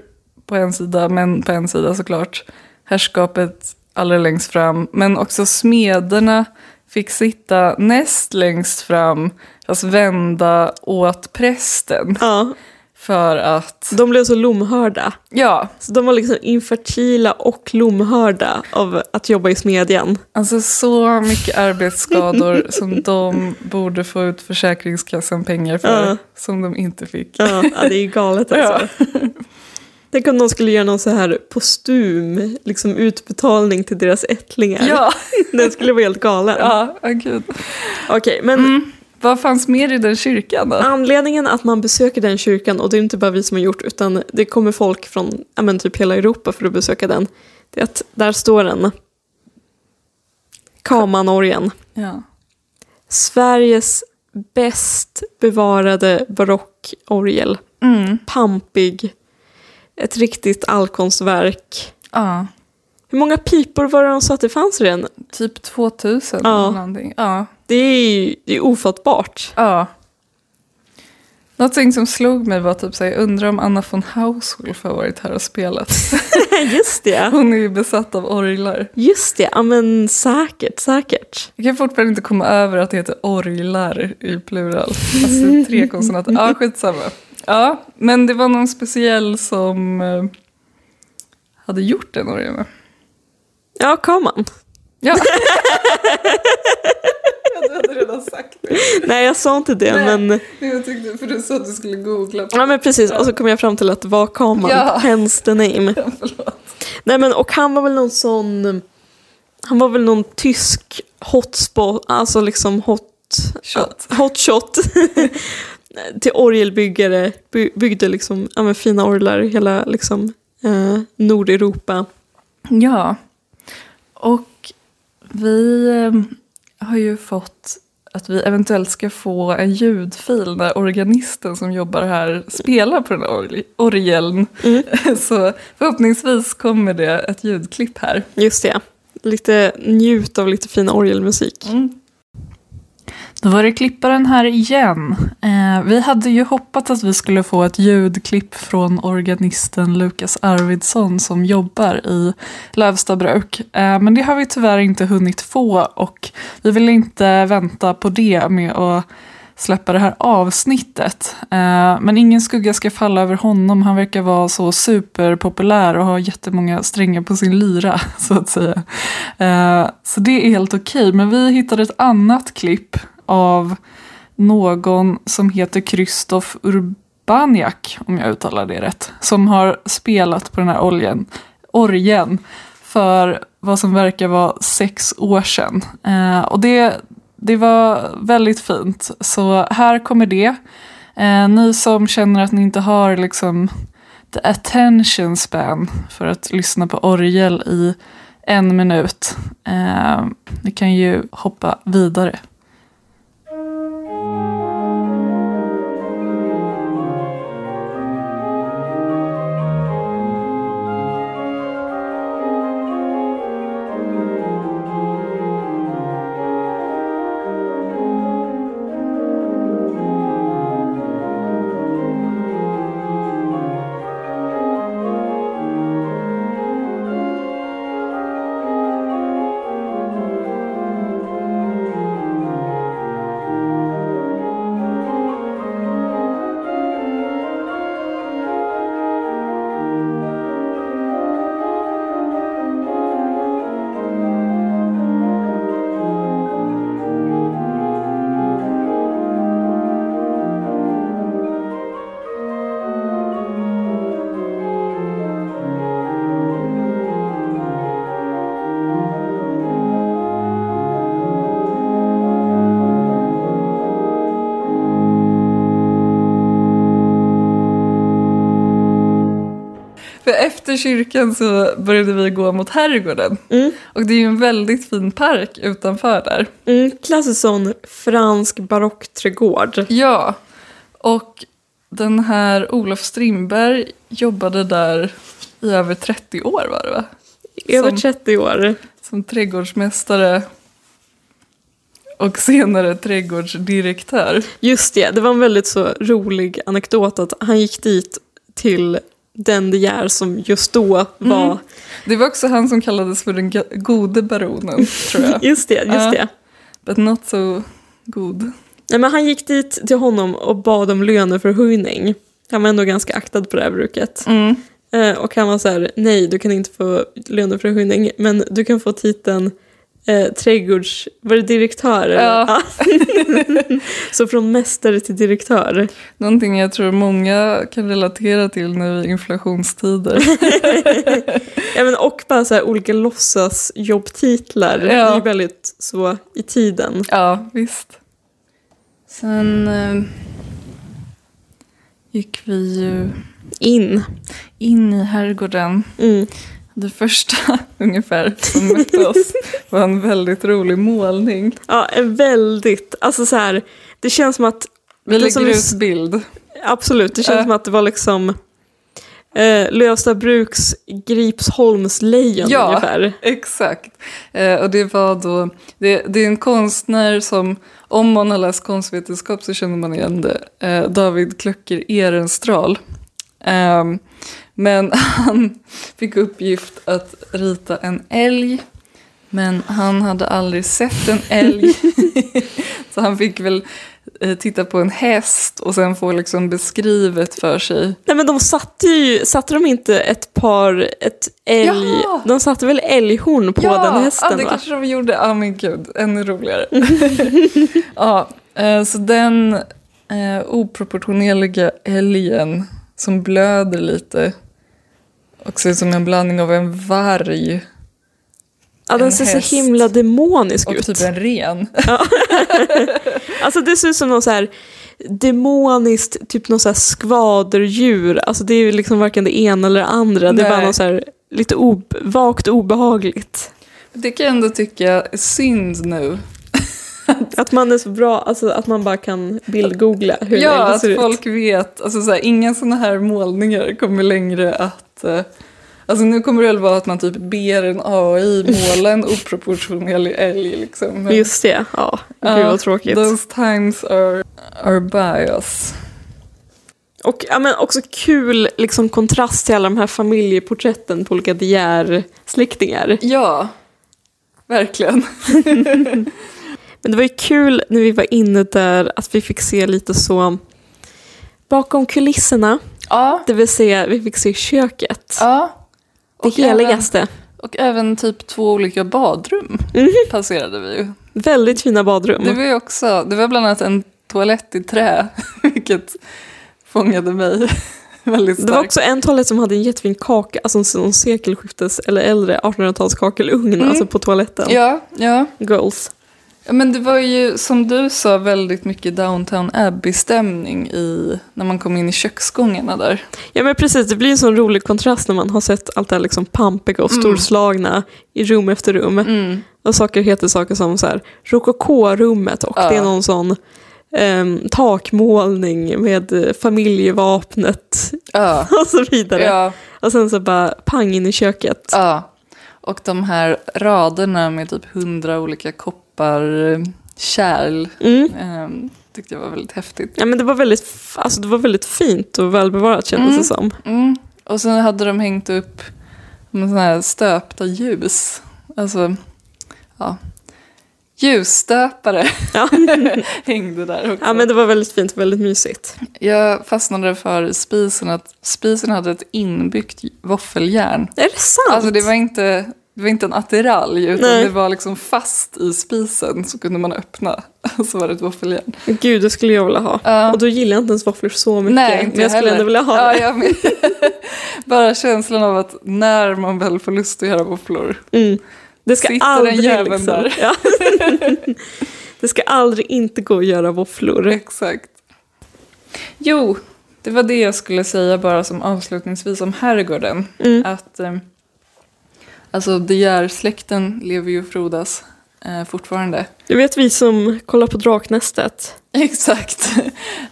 Speaker 3: på en sida, män på en sida såklart. Herrskapet allra längst fram, men också smederna fick sitta näst längst fram, alltså vända åt prästen.
Speaker 2: Ja.
Speaker 3: För att,
Speaker 2: De blev så lomhörda.
Speaker 3: ja,
Speaker 2: Så de var liksom infertila och lomhörda av att jobba i smedjan.
Speaker 3: Alltså så mycket arbetsskador som de borde få ut Försäkringskassan pengar för,
Speaker 2: Ja.
Speaker 3: som de inte fick.
Speaker 2: Ja, ja, det är ju galet alltså. Tänk om de skulle göra någon så här postum liksom utbetalning till deras ättlingar.
Speaker 3: Ja,
Speaker 2: Den skulle vara helt galen.
Speaker 3: ja, ja gud.
Speaker 2: Okej, men
Speaker 3: Vad fanns mer i den kyrkan då?
Speaker 2: anledningen att man besöker den kyrkan, och det är inte bara vi som har gjort utan det kommer folk från ja, men, typ hela Europa för att besöka den, det är att där står den. Kamanorgen.
Speaker 3: Ja.
Speaker 2: Sveriges bäst bevarade barockorgel.
Speaker 3: Mm.
Speaker 2: Pampig. Ett riktigt allkonstverk.
Speaker 3: ja.
Speaker 2: Hur många pipor var det de sa att det fanns i den?
Speaker 3: Typ 2000
Speaker 2: Ja.
Speaker 3: eller någonting. Ja.
Speaker 2: Det är ju det är ofattbart.
Speaker 3: ja. Någonting som slog mig var typ såhär, jag undrar om Anna von Hauswolf har varit här och spelat.
Speaker 2: Just det.
Speaker 3: Hon är ju besatt av orglar.
Speaker 2: Just det, ja men säkert, säkert.
Speaker 3: Jag kan fortfarande inte komma över att det heter orglar i plural. Alltså tre konsonanter. Ja, skitsamma. Ja, men det var någon speciell som eh, hade gjort den orgeln va?
Speaker 2: Ja, kaman.
Speaker 3: Ja. du hade redan sagt det.
Speaker 2: Nej, jag sa inte det,
Speaker 3: Nej.
Speaker 2: men...
Speaker 3: Jag tyckte, för du sa att du skulle googla. på-
Speaker 2: Ja, men precis. Och så kom jag fram till att det var kaman.
Speaker 3: Ja.
Speaker 2: Hence the name.
Speaker 3: Förlåt.
Speaker 2: Nej, men och han var väl någon sån... Han var väl någon tysk hotspot, alltså liksom hot...
Speaker 3: Shot.
Speaker 2: Ja, hot shot. till orgelbyggare. By, byggde liksom, ja men fina orglar i hela liksom eh, Nordeuropa.
Speaker 3: Ja. Och vi eh, har ju fått att vi eventuellt ska få en ljudfil när organisten som jobbar här spelar på den här org- orgeln. Så förhoppningsvis kommer det ett ljudklipp här.
Speaker 2: Just det. Lite njut av lite fin orgelmusik.
Speaker 3: Mm. Då var det klipparen här igen. Eh, vi hade ju hoppats att vi skulle få ett ljudklipp från organisten Lukas Arvidsson som jobbar i Lövstabruk. Eh, men det har vi tyvärr inte hunnit få och vi vill inte vänta på det med att släppa det här avsnittet. Eh, men ingen skugga ska falla över honom. Han verkar vara så superpopulär och har jättemånga strängar på sin lyra, så att säga. Eh, så det är helt okej. Men vi hittade ett annat klipp av någon som heter Kristoff Urbaniak, om jag uttalar det rätt, som har spelat på den här oljen, orgen för vad som verkar vara sex år sedan. Eh, och det, det var väldigt fint, så här kommer det. Eh, ni som känner att ni inte har liksom the attention span för att lyssna på orgel i en minut. Eh, ni kan ju hoppa vidare. För efter kyrkan så började vi gå mot herrgården.
Speaker 2: Mm.
Speaker 3: Och det är ju en väldigt fin park utanför där.
Speaker 2: Mm, klassisk sån fransk barockträdgård.
Speaker 3: Ja, och den här Olof Strindberg jobbade där i över 30 år var det va?
Speaker 2: Över
Speaker 3: Som-
Speaker 2: 30 år.
Speaker 3: Som trädgårdsmästare och senare trädgårdsdirektör.
Speaker 2: Just det, det var en väldigt så rolig anekdot att han gick dit till den De Geer som just då var...
Speaker 3: Mm. Det var också han som kallades för den ga- gode baronen, tror jag.
Speaker 2: Just det, just
Speaker 3: Ja.
Speaker 2: det.
Speaker 3: But not so good.
Speaker 2: Nej, men han gick dit till honom och bad om löneförhöjning. Han var ändå ganska aktad på det här bruket. Eh, och han var så här, nej du kan inte få löneförhöjning men du kan få titeln eh, trädgårds... Var det direktör? eller?
Speaker 3: Ja.
Speaker 2: Ja. så från mästare till direktör.
Speaker 3: Någonting jag tror många kan relatera till nu i inflationstider.
Speaker 2: Ja, men och bara så här, olika låtsasjobbtitlar
Speaker 3: Ja.
Speaker 2: är ju väldigt så i tiden.
Speaker 3: Ja, visst. Sen eh, gick vi ju
Speaker 2: In.
Speaker 3: in i herrgården.
Speaker 2: Mm.
Speaker 3: Det första ungefär som mötte oss var en väldigt rolig målning.
Speaker 2: Ja, en väldigt, alltså så här, det känns som att...
Speaker 3: Vi
Speaker 2: det som
Speaker 3: lägger
Speaker 2: vi-
Speaker 3: ut bild.
Speaker 2: Absolut, det känns
Speaker 3: Äh.
Speaker 2: som att det var liksom eh, Lövsta bruks Gripsholms lejon
Speaker 3: Ja.
Speaker 2: ungefär.
Speaker 3: Exakt. Eh, och det var då, det, det är en konstnär som, om man har läst konstvetenskap så känner man igen det, eh, David Klöcker Ehrenstrahl. Ehm, men han fick uppgift att rita en älg, men han hade aldrig sett en älg. så han fick väl eh, titta på en häst och sen få liksom beskrivet för sig
Speaker 2: Nej men de satte ju, satte de inte ett par, ett älg,
Speaker 3: Ja.
Speaker 2: de satte väl älghorn på den hästen
Speaker 3: ja, det
Speaker 2: va?
Speaker 3: kanske de gjorde. Ja, men gud, ännu roligare. ja, eh, så den eh, oproportionerliga älgen som blöder lite och ser ut som en blandning av en varg
Speaker 2: ja, den
Speaker 3: en
Speaker 2: ser
Speaker 3: häst.
Speaker 2: så himla demonisk
Speaker 3: och
Speaker 2: ut.
Speaker 3: typ en ren.
Speaker 2: Alltså det ser ut som någon så här demoniskt, typ någon så här skvaderdjur. Alltså det är ju liksom varken det ena eller det andra. Det är bara
Speaker 3: Nej.
Speaker 2: något så här lite ob- vagt obehagligt.
Speaker 3: Det kan jag ändå tycka är synd nu.
Speaker 2: Att man är så bra, alltså att man bara kan bildgoogla hur
Speaker 3: ja,
Speaker 2: det
Speaker 3: att
Speaker 2: ser ut.
Speaker 3: folk vet. Alltså, så här, inga sådana här målningar kommer längre att... Eh, alltså nu kommer det väl vara att man typ ber en AI måla en oproportionerlig älg. Liksom. Men-
Speaker 2: Just det, ja. Gud
Speaker 3: Ja,
Speaker 2: vad tråkigt.
Speaker 3: Those times are, are by us.
Speaker 2: Och ja, men också kul liksom, kontrast till alla de här familjeporträtten på olika De Geer-släktingar.
Speaker 3: Ja, verkligen.
Speaker 2: Men det var ju kul när vi var inne där att vi fick se lite så bakom kulisserna.
Speaker 3: Ja,
Speaker 2: Det vill säga, vi fick se köket.
Speaker 3: ja.
Speaker 2: det heligaste.
Speaker 3: Även, och även typ två olika badrum
Speaker 2: Mhm.
Speaker 3: passerade vi
Speaker 2: Mm.
Speaker 3: ju.
Speaker 2: Väldigt fina badrum.
Speaker 3: Det var ju också, det var bland annat en toalett i trä, vilket fångade mig väldigt
Speaker 2: Det var
Speaker 3: starkt.
Speaker 2: också en toalett som hade en jättefin kaka, alltså en sån sekelskiftes eller äldre 1800-talskakelugn alltså på toaletten.
Speaker 3: Mm. Ja, ja.
Speaker 2: Goals.
Speaker 3: Ja, Men det var ju som du sa väldigt mycket Downtown Abbey-stämning i, när man kom in i köksgångarna där.
Speaker 2: Ja men precis, det blir en sån rolig kontrast när man har sett allt det här liksom pampiga
Speaker 3: Mm.
Speaker 2: och storslagna i rum efter rum. Och saker heter saker som så här, rokoko-rummet och
Speaker 3: Ja.
Speaker 2: det är någon sån ehm, takmålning med eh, familjevapnet
Speaker 3: Ja,
Speaker 2: och så vidare.
Speaker 3: ja.
Speaker 2: Och sen så bara pang in i köket.
Speaker 3: Ja, och de här raderna med typ hundra olika koppar eh, kärl
Speaker 2: Mm.
Speaker 3: eh, tyckte jag var väldigt häftigt.
Speaker 2: Ja, men det, var väldigt, f- alltså, det var väldigt fint och välbevarat kändes
Speaker 3: Mm.
Speaker 2: det som.
Speaker 3: Mm. Och sen hade de hängt upp med såna här stöpta ljus. Alltså, ja. Ljusstöpare
Speaker 2: Ja.
Speaker 3: hängde där också.
Speaker 2: ja, men det var väldigt fint och väldigt mysigt.
Speaker 3: Jag fastnade för spisen, att spisen hade ett inbyggt våffeljärn.
Speaker 2: Är det sant?
Speaker 3: Alltså det var inte, det var inte en attiralj utan
Speaker 2: Nej.
Speaker 3: det var liksom fast i spisen så kunde man öppna och så var det ett våffeljärn.
Speaker 2: Gud, det skulle jag vilja ha.
Speaker 3: Ja.
Speaker 2: Och då gillar jag inte ens våfflor så mycket. men jag skulle
Speaker 3: heller.
Speaker 2: ändå vilja ha
Speaker 3: ja,
Speaker 2: det.
Speaker 3: jag med. Bara känslan av att när man väl får lust att göra våfflor.
Speaker 2: Mm. Det ska
Speaker 3: Sitter den
Speaker 2: aldrig
Speaker 3: jäveln
Speaker 2: liksom.
Speaker 3: där?
Speaker 2: Ja. det ska aldrig inte gå att göra våfflor.
Speaker 3: Exakt. Jo, Det var det jag skulle säga bara som avslutningsvis om herrgården.
Speaker 2: Mm.
Speaker 3: Att, eh, alltså De Geer-släkten lever ju och frodas eh, fortfarande.
Speaker 2: Det vet vi som kollar på Draknästet.
Speaker 3: Exakt.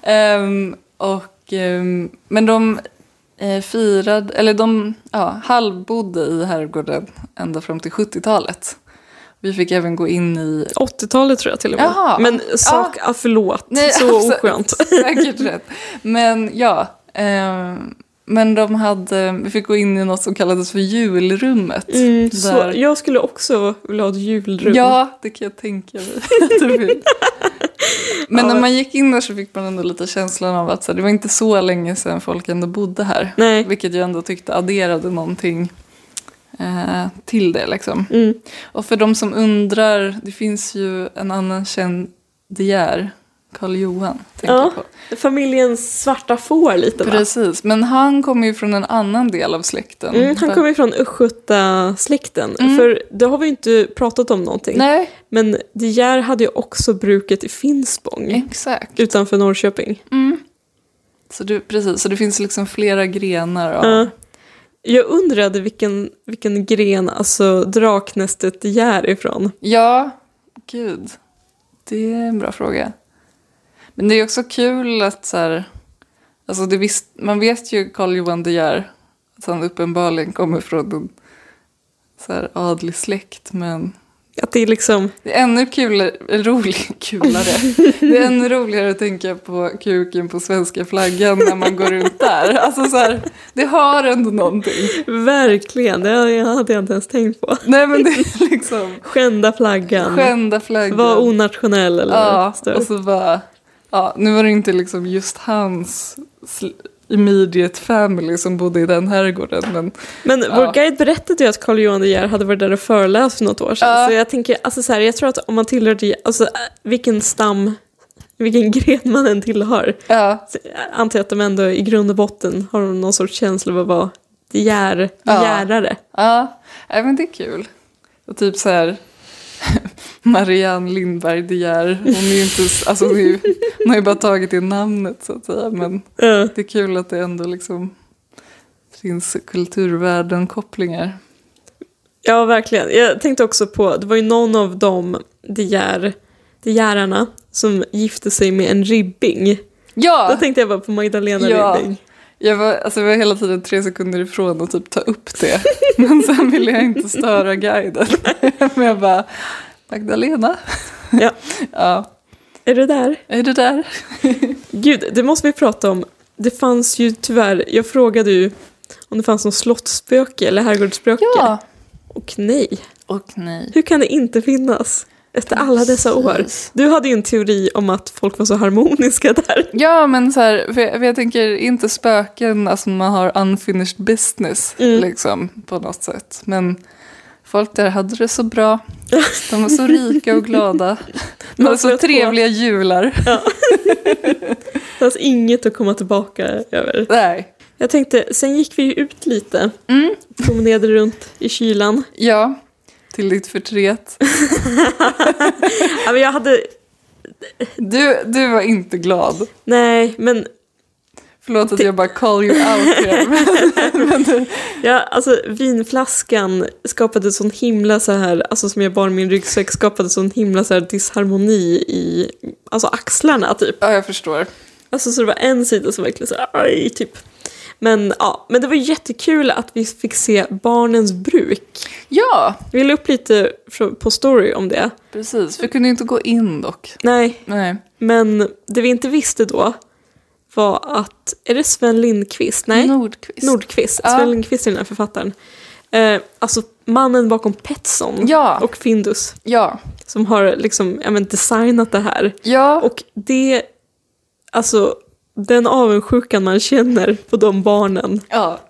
Speaker 3: Ehm, och, ehm, men de eh, firade, eller de ja, halvbodde i herrgården ända fram till 70-talet. Vi fick även gå in i...
Speaker 2: 80-talet tror jag till och med.
Speaker 3: Jaha. alltså,
Speaker 2: Men sak, ah, förlåt, så
Speaker 3: absolut,
Speaker 2: oskönt.
Speaker 3: Säkert rätt. Men ja, ehm, men de hade, vi fick gå in i något som kallades för julrummet.
Speaker 2: Mm, så
Speaker 3: Där-
Speaker 2: jag skulle också vilja ha ett julrum.
Speaker 3: Ja, det kan jag tänka mig. att du vill. Men
Speaker 2: Ja.
Speaker 3: när man gick in där så fick man ändå lite känslan av att så här, det var inte så länge sedan folk ändå bodde här.
Speaker 2: Nej.
Speaker 3: Vilket jag ändå tyckte adderade någonting eh, till det. Liksom.
Speaker 2: Mm.
Speaker 3: Och för de som undrar, det finns ju en annan känd De Geer, Karl Johan. Tänker
Speaker 2: Ja.
Speaker 3: jag på.
Speaker 2: Familjens svarta får lite va?
Speaker 3: Precis, men han kommer ju från en annan del av släkten.
Speaker 2: Mm, han
Speaker 3: Där-
Speaker 2: kommer ju från Östgötasläkten.
Speaker 3: Mm.
Speaker 2: För det har vi ju inte pratat om någonting.
Speaker 3: Nej,
Speaker 2: Men De Geer hade ju också bruket i Finspång.
Speaker 3: exakt.
Speaker 2: Utanför Norrköping.
Speaker 3: Mm. Så, du, precis, så det finns liksom flera grenar av
Speaker 2: Ja. Jag undrade vilken, vilken gren alltså Draknästet De Geer ifrån.
Speaker 3: Ja, gud. Det är en bra fråga. Men det är också kul att så här, alltså det visst, man vet ju Carl Johan De Geer, att han uppenbarligen kommer från en så här adlig släkt, men
Speaker 2: Att det är liksom...
Speaker 3: det är ännu kulare, rolig, kulare. Det är ännu roligare att tänka på kuken på svenska flaggan när man går runt där. Alltså så här, det har ändå någonting.
Speaker 2: Verkligen, det hade jag inte ens tänkt på.
Speaker 3: Nej men det är liksom
Speaker 2: Skända flaggan.
Speaker 3: skända flaggan.
Speaker 2: Var onationell eller
Speaker 3: Ja,
Speaker 2: större.
Speaker 3: och så bara... Ja, nu var det inte liksom just hans sl- immediate family som bodde i den herrgården. Men
Speaker 2: Men
Speaker 3: Ja.
Speaker 2: vår guide berättade ju att Carl Johan De Geer hade varit där och föreläst för något år sedan.
Speaker 3: Ja.
Speaker 2: Så jag tänker, alltså så här, jag tror att om man tillhör De alltså äh, vilken stam, vilken gren man än tillhör,
Speaker 3: ja,
Speaker 2: så jag antar jag att de ändå i grund och botten har någon sorts känsla av att vara De Geer, De
Speaker 3: Ja.
Speaker 2: Geerare.
Speaker 3: ja, nej, men det är kul. Och typ så här... Marianne Lindberg De Geer, hon är ju inte... s- Alltså hon, är ju, hon har ju bara tagit det namnet så att säga. Men
Speaker 2: Ja.
Speaker 3: det är kul att det ändå liksom finns kulturvärden-kopplingar.
Speaker 2: Ja, verkligen. Jag tänkte också på, det var ju någon av de De Geer, De Geerarna som gifte sig med en ribbing.
Speaker 3: Ja!
Speaker 2: Då tänkte jag bara på Magdalena
Speaker 3: Ja.
Speaker 2: Ribbing.
Speaker 3: Jag var, alltså jag var hela tiden tre sekunder ifrån att typ ta upp det. Men sen ville jag inte störa guiden. Men jag bara, Magdalena?
Speaker 2: Ja.
Speaker 3: ja.
Speaker 2: Är du där?
Speaker 3: Är det där?
Speaker 2: Gud, det måste vi prata om. Det fanns ju tyvärr, jag frågade ju om det fanns någon slottsspöke eller herrgårdsspöke. Och nej,
Speaker 3: Och nej.
Speaker 2: hur kan det inte finnas? Efter alla dessa år.
Speaker 3: Precis.
Speaker 2: Du hade ju en teori om att folk var så harmoniska där.
Speaker 3: Ja, men så här, för jag, för jag tänker inte spöken, alltså man har unfinished business
Speaker 2: Mm.
Speaker 3: liksom på något sätt. Men folk där hade det så bra. De var så rika och glada. De hade så
Speaker 2: flöt på.
Speaker 3: trevliga jular.
Speaker 2: Det fanns inget att komma tillbaka över.
Speaker 3: Nej.
Speaker 2: Jag tänkte, sen gick vi ju ut lite.
Speaker 3: Mm.
Speaker 2: Promenerade runt i kylan.
Speaker 3: Ja, till ditt förtret.
Speaker 2: Ja, men jag hade,
Speaker 3: Du, du var inte glad.
Speaker 2: nej, men
Speaker 3: Förlåt att jag bara call you out here. Men-
Speaker 2: Ja, alltså vinflaskan skapade sån himla så här, alltså som jag bar i min ryggsäck skapade sån himla så här disharmoni i alltså axlarna typ.
Speaker 3: Ja, jag förstår.
Speaker 2: Alltså så det var en sida som verkligen så här, aj, typ. Men ja, men det var jättekul att vi fick se barnens bruk.
Speaker 3: Ja,
Speaker 2: Vi la upp lite fr- på story om det.
Speaker 3: precis. Vi kunde ju inte gå in dock.
Speaker 2: Nej,
Speaker 3: Nej.
Speaker 2: men det vi inte visste då var att, är det Sven Lindqvist? Nej?
Speaker 3: Nordqvist.
Speaker 2: Nordqvist,
Speaker 3: Ja.
Speaker 2: Sven Lindqvist är den här författaren. Eh, alltså mannen bakom Petson
Speaker 3: Ja.
Speaker 2: och Findus
Speaker 3: Ja.
Speaker 2: som har liksom, ja, men designat det här.
Speaker 3: Ja.
Speaker 2: Och det, alltså den avundsjukan man känner på de barnen,
Speaker 3: ja.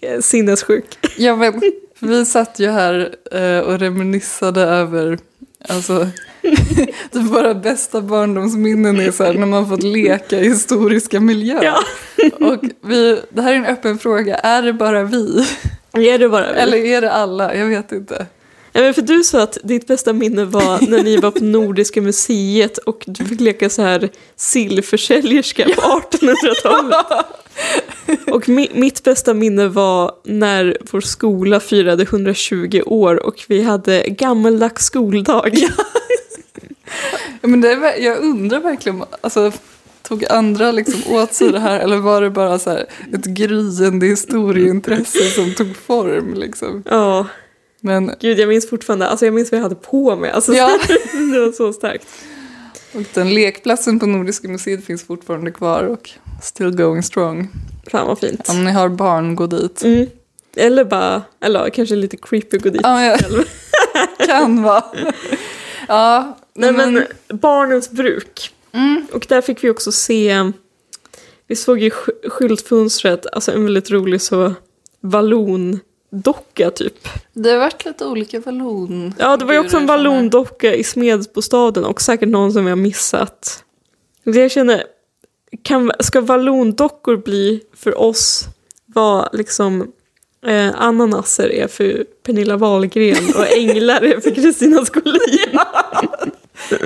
Speaker 2: eh, sinnessjuk.
Speaker 3: ja men, för vi satt ju här eh, och reminissade över alltså, typ våra bästa barndomsminnen är så här, när man fått leka i historiska miljöer.
Speaker 2: Ja.
Speaker 3: Och vi, det här är en öppen fråga. Är det bara vi?
Speaker 2: Är det bara vi?
Speaker 3: Eller är det alla? Jag vet inte.
Speaker 2: Ja, men för du sa att ditt bästa minne var när ni var på Nordiska museet och du fick leka så här sillförsäljerska på 1800-talet. Och mi, mitt bästa minne var när vår skola firade 120 år och vi hade gammeldags skoldag.
Speaker 3: Ja, Men det är, ver- jag undrar verkligen, alltså, tog andra liksom åt sig det här eller var det bara så här, ett gryende historieintresse som tog form? Liksom?
Speaker 2: Ja,
Speaker 3: Men
Speaker 2: gud jag minns fortfarande, alltså jag minns vad jag hade på mig. Alltså,
Speaker 3: Ja.
Speaker 2: det var så starkt.
Speaker 3: och den lekplatsen på Nordiska museet finns fortfarande kvar och still going strong.
Speaker 2: Fan vad fint.
Speaker 3: Om ni har barn, gå dit.
Speaker 2: Mm. Eller bara, eller kanske lite creepy gå dit.
Speaker 3: Ja, jag kan vara. Ja,
Speaker 2: Nej men barnens bruk.
Speaker 3: Mm.
Speaker 2: Och där fick vi också se, vi såg ju sk- skyltfönstret, alltså en väldigt rolig så vallondocka typ.
Speaker 3: Det har varit lite olika vallon.
Speaker 2: Ja, det var ju också en
Speaker 3: figurer som är-
Speaker 2: vallondocka i Smedsbostaden och säkert någon som jag missat. Det jag känner, kan, ska vallondockor bli för oss vad liksom eh, ananaser är för Pernilla Wahlgren och änglar är för Kristina Schollin?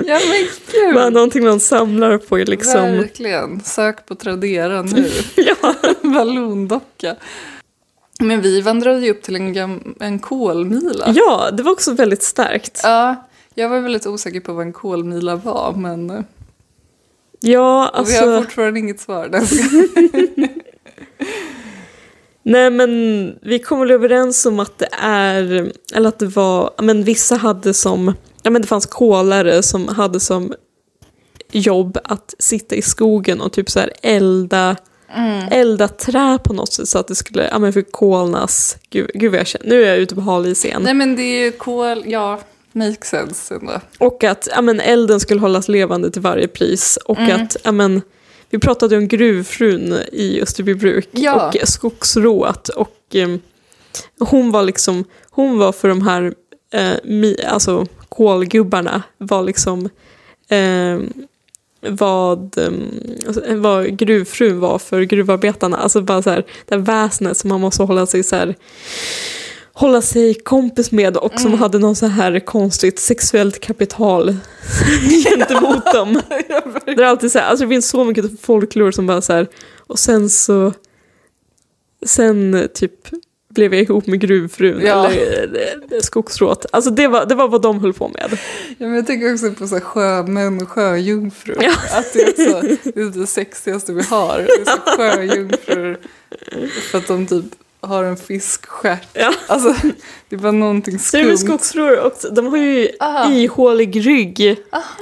Speaker 3: Ja, men gud.
Speaker 2: Bara någonting man samlar på är liksom...
Speaker 3: Verkligen. Sök på Tradera nu.
Speaker 2: Ja.
Speaker 3: Vallondocka. Men vi vandrade ju upp till en, gam- en kolmila.
Speaker 2: ja, det var också väldigt starkt.
Speaker 3: Ja, jag var väldigt osäker på vad en kolmila var, men eh,
Speaker 2: Ja,
Speaker 3: och vi har
Speaker 2: alltså...
Speaker 3: fortfarande inget svar.
Speaker 2: Nej men vi kom väl överens om att det är, eller att det var, ja, men vissa hade som, ja men det fanns kolare som hade som jobb att sitta i skogen och typ så här elda, elda trä på något sätt så att det skulle, ja men förkolnas, gud, gud vad jag känner, nu är jag ute på hal is igen.
Speaker 3: Nej, men det är ju kol, ja, makes sense ändå.
Speaker 2: Och att ja, men elden skulle hållas levande till varje pris. Och att ja, men, vi pratade ju om gruvfrun i Österbybruk
Speaker 3: Ja.
Speaker 2: och skogsrået. Och eh, hon var liksom, hon var för de här eh, mi, alltså kolgubbarna var liksom eh, vad, eh, vad gruvfrun var för gruvarbetarna. Alltså bara så här, det här väsnet som man måste hålla sig så här hålla sig kompis med och
Speaker 3: Mm.
Speaker 2: som hade någon så här konstigt sexuellt kapital gentemot dem. det, är alltid så här, alltså det finns så mycket folklore som bara så här, och sen så, sen typ blev jag ihop med gruvfrun
Speaker 3: Ja.
Speaker 2: eller eh, skogsrået. Alltså det var, det var vad de höll på med.
Speaker 3: Ja, men jag tänker också på så här, sjömän och sjöjungfrur.
Speaker 2: Ja.
Speaker 3: Att det är, också, det är det sexigaste vi har. Det är så här sjöjungfrur för att de typ har en fiskstjärt.
Speaker 2: Ja.
Speaker 3: Alltså, det är bara någonting
Speaker 2: Så det är väl
Speaker 3: skumt.
Speaker 2: skogsrår också, de har ju
Speaker 3: Aha. Ah.
Speaker 2: ihålig rygg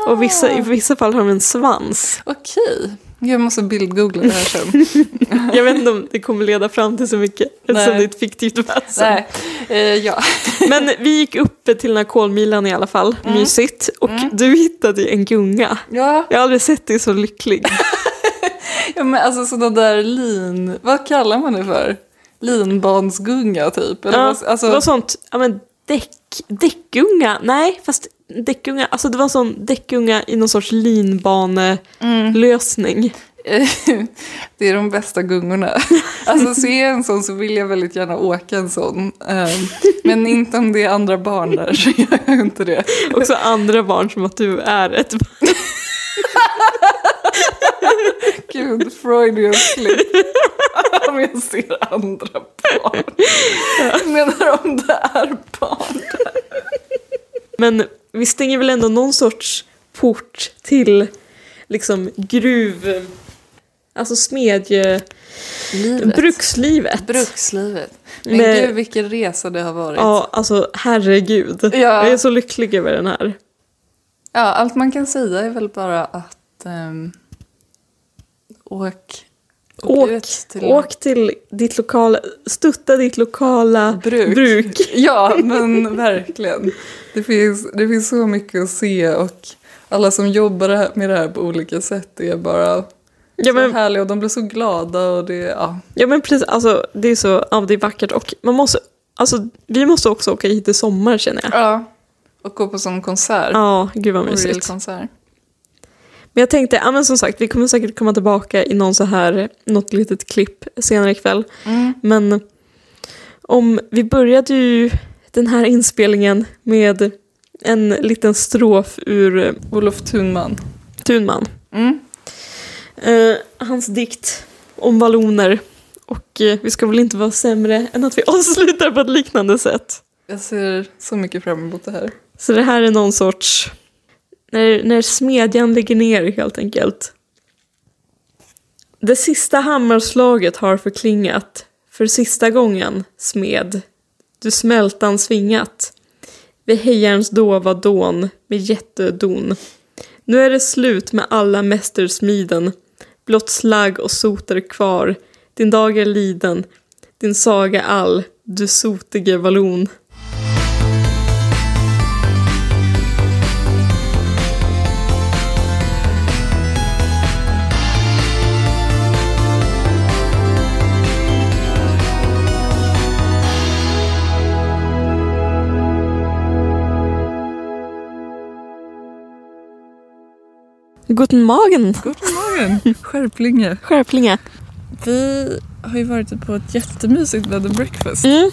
Speaker 2: och vissa, i vissa fall har de en svans.
Speaker 3: Okej. Jag måste bildgoogla det här sen.
Speaker 2: Jag vet inte om det kommer leda fram till så mycket eftersom
Speaker 3: Nej.
Speaker 2: det är ett fiktivt väsen.
Speaker 3: Nej, eh, ja.
Speaker 2: Men vi gick upp till den här kolmilan i alla fall, mysigt. Och du hittade ju en gunga.
Speaker 3: Ja,
Speaker 2: Jag har aldrig sett dig så lycklig.
Speaker 3: ja, men alltså sådana där lin... Vad kallar man det för? Linbansgunga typ? Eller
Speaker 2: Ja,
Speaker 3: vad- alltså,
Speaker 2: Det var sånt, ja men däck, däckgunga, nej fast däckgunga, alltså det var en sån däckgunga i någon sorts linbanelösning.
Speaker 3: det är de bästa gungorna. Alltså ser jag en sån så vill jag väldigt gärna åka en sån. Ehm, Men inte om det är andra barn där så gör jag inte det.
Speaker 2: Också andra barn som att du är ett barn.
Speaker 3: Gud, Freudian slip. Om jag ser andra barn. Jag menar om det är barn.
Speaker 2: Men vi stänger väl ändå någon sorts port till liksom gruv... Alltså smedje... Brukslivet.
Speaker 3: Brukslivet. Men
Speaker 2: Med-
Speaker 3: gud vilken resa det har varit. Ja.
Speaker 2: Ja, alltså herregud. Jag är så lycklig över den här.
Speaker 3: allt man kan säga är väl bara att ehm, åk,
Speaker 2: Åk,
Speaker 3: ut
Speaker 2: åk till ditt lokala, stötta ditt lokala
Speaker 3: Bruk.
Speaker 2: bruk.
Speaker 3: Ja, men verkligen. Det finns, det finns så mycket att se och alla som jobbar det här- med det här på olika sätt är bara
Speaker 2: Ja,
Speaker 3: så
Speaker 2: men,
Speaker 3: härliga och de blir så glada och det, ja.
Speaker 2: ja men precis, alltså det är så, ja, det är vackert och man måste, alltså vi måste också åka hit i sommar känner jag.
Speaker 3: ja. Och gå på sån konsert.
Speaker 2: Ja, gud vad mysigt.
Speaker 3: Orgelkonsert.
Speaker 2: Men jag tänkte, ja men som sagt, vi kommer säkert komma tillbaka i någon så här, något litet klipp senare ikväll.
Speaker 3: Mm.
Speaker 2: Men om vi började ju den här inspelningen med en liten strof ur eh,
Speaker 3: Olof Thunman.
Speaker 2: Thunman.
Speaker 3: Mm.
Speaker 2: Eh, hans dikt om valloner. Och eh, vi ska väl inte vara sämre än att vi avslutar på ett liknande sätt.
Speaker 3: Jag ser så mycket fram emot det här.
Speaker 2: Så det här är någon sorts... När, när smedjan lägger ner helt enkelt. Det sista hammarslaget har förklingat. För sista gången, smed, du smältan svingat. Vid hejarens dova dån med jättedon. Nu är det slut med alla mästersmiden. Blott slagg och sot är kvar. Din dag är liden. Din saga all, du sotige vallon. Guten Morgen!
Speaker 3: Guten Morgen! Skärplinge.
Speaker 2: Skärplinge.
Speaker 3: Vi har ju varit på ett jättemysigt bed and breakfast.
Speaker 2: Mm.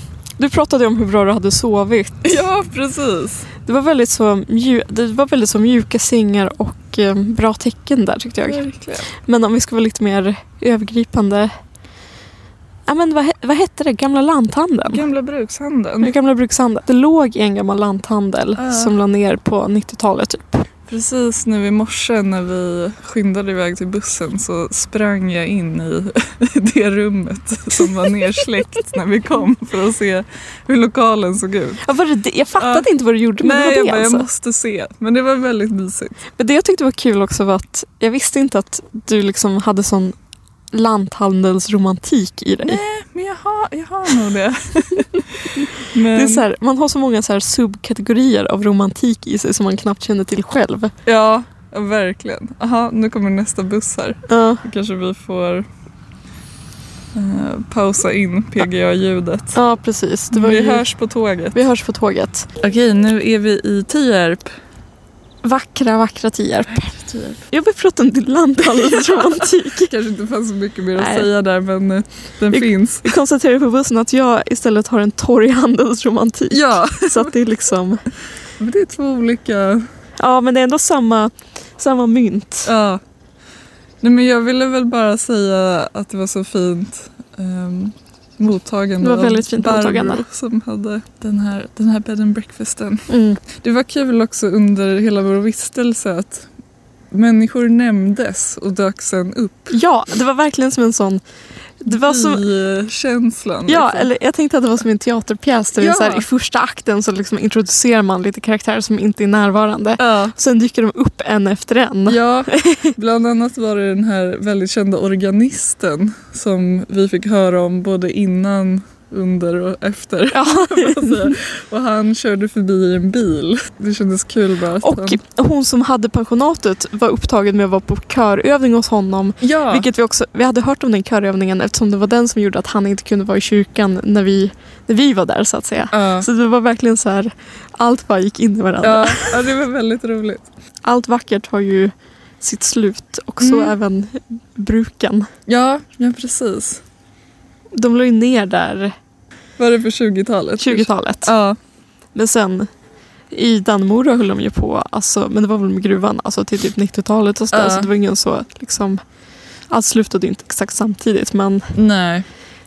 Speaker 2: Du pratade om hur bra du hade sovit.
Speaker 3: Ja, precis.
Speaker 2: Det var väldigt så, mju- det var väldigt så mjuka sängar och eh, bra tecken där tyckte jag.
Speaker 3: Verkligen.
Speaker 2: Men om vi ska vara lite mer övergripande. Ja, men vad, he- vad hette det? Gamla lanthandeln?
Speaker 3: Gamla brukshandeln.
Speaker 2: Den gamla brukshandeln. Det låg en gammal lanthandel
Speaker 3: Ja.
Speaker 2: som la ner på 90-talet. Typ.
Speaker 3: Precis nu i morse när vi skyndade iväg till bussen så sprang jag in i det rummet som var nersläckt när vi kom för att se hur lokalen såg ut.
Speaker 2: Ja, var det det? Jag fattade inte vad du gjorde, men
Speaker 3: Nej,
Speaker 2: det
Speaker 3: jag,
Speaker 2: var det
Speaker 3: bara,
Speaker 2: alltså.
Speaker 3: jag måste se. Men det var väldigt mysigt.
Speaker 2: Men det jag tyckte var kul också var att jag visste inte att du liksom hade sån lanthandelsromantik i dig.
Speaker 3: Men jag har, jag har nog det. Men,
Speaker 2: Det är så här, man har så många så här subkategorier av romantik i sig som man knappt känner till själv.
Speaker 3: Ja, ja, verkligen. Aha, nu kommer nästa buss här.
Speaker 2: Ja,
Speaker 3: Då kanske vi får eh, pausa in PGA-ljudet.
Speaker 2: ja precis. Det var
Speaker 3: Vi
Speaker 2: ju,
Speaker 3: hörs på tåget.
Speaker 2: vi hörs på tåget.
Speaker 3: Mm. Okej, nu är vi i Tierp.
Speaker 2: Vackra, vackra Tierp. Jag vill prata om din lanthandelsromantik.
Speaker 3: kanske inte fanns så mycket mer att
Speaker 2: Nej.
Speaker 3: säga där men eh, den
Speaker 2: Vi-
Speaker 3: finns.
Speaker 2: Vi konstaterade på bussen att jag istället har en torghandelsromantik.
Speaker 3: Ja,
Speaker 2: Så att det är liksom...
Speaker 3: men det är två olika.
Speaker 2: Ja, men det är ändå samma, samma mynt.
Speaker 3: Ja. Nej, men jag ville väl bara säga att det var så fint ehm, mottagande.
Speaker 2: Det var
Speaker 3: av
Speaker 2: väldigt fint
Speaker 3: Barbro
Speaker 2: mottagande.
Speaker 3: som hade den här, den här bed and breakfasten.
Speaker 2: Mm.
Speaker 3: Det var kul också under hela vår vistelse att människor nämndes och dök sen upp
Speaker 2: Ja, det var verkligen som en sån... Det var som,
Speaker 3: i eh, känslan.
Speaker 2: Ja,
Speaker 3: liksom.
Speaker 2: eller jag tänkte att det var som en teaterpjäs. Där
Speaker 3: Ja.
Speaker 2: så här, I första akten så liksom introducerar man lite karaktärer som inte är närvarande.
Speaker 3: Ja.
Speaker 2: Sen dyker de upp en efter en.
Speaker 3: Ja, bland annat var det den här väldigt kända organisten som vi fick höra om både innan, under och efter.
Speaker 2: Ja.
Speaker 3: kan man säga. och han körde förbi i en bil. Det kändes kul bara att han...
Speaker 2: Och hon som hade pensionatet var upptagen med att vara på körövning hos honom.
Speaker 3: Ja,
Speaker 2: Vilket vi också, vi hade hört om den körövningen eftersom det var den som gjorde att han inte kunde vara i kyrkan när vi, när vi var där så att säga.
Speaker 3: ja.
Speaker 2: Så det var verkligen så här, allt bara gick in i varandra.
Speaker 3: Ja, ja, det var väldigt roligt.
Speaker 2: Allt vackert har ju sitt slut och så
Speaker 3: Mm.
Speaker 2: även bruken.
Speaker 3: Ja, ja precis.
Speaker 2: De la ju ner där
Speaker 3: Var det för 20-talet?
Speaker 2: 20-talet.
Speaker 3: Ja,
Speaker 2: Men sen i Dannemora höll de ju på, alltså, men det var väl med gruvan, alltså till typ 90-talet och sådär.
Speaker 3: Ja.
Speaker 2: Så det var ingen så liksom, allt slutade ju inte exakt samtidigt men
Speaker 3: nej.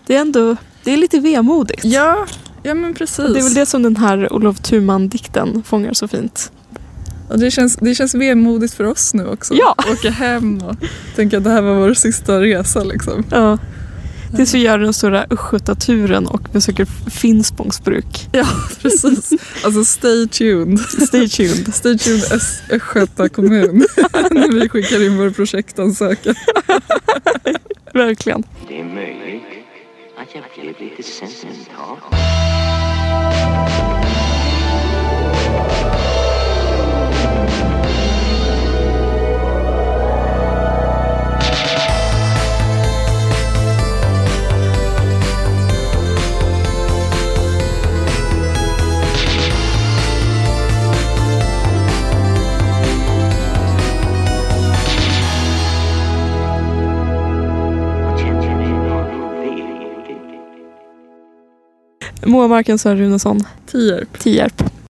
Speaker 2: det är ändå, det är lite vemodigt.
Speaker 3: Ja, ja men precis.
Speaker 2: Det är väl det som den här Olof Thuman-dikten fångar så fint.
Speaker 3: Och det, känns, det känns vemodigt för oss nu också.
Speaker 2: Ja.
Speaker 3: Åka hem och tänka att det här var vår sista resa liksom.
Speaker 2: Ja. Tills vi gör den stora Östgötaturen och besöker Finspångs bruk.
Speaker 3: Ja, precis. Alltså stay tuned.
Speaker 2: Stay tuned.
Speaker 3: Stay tuned Ös- Östgöta kommun när vi skickar in vår projektansökan.
Speaker 2: Verkligen.
Speaker 1: Det är möjligt att jag blev lite sentimental. Och känner mig någon vek.
Speaker 2: Moamarken Sören Runesson,
Speaker 3: Tierp.
Speaker 2: Tierp.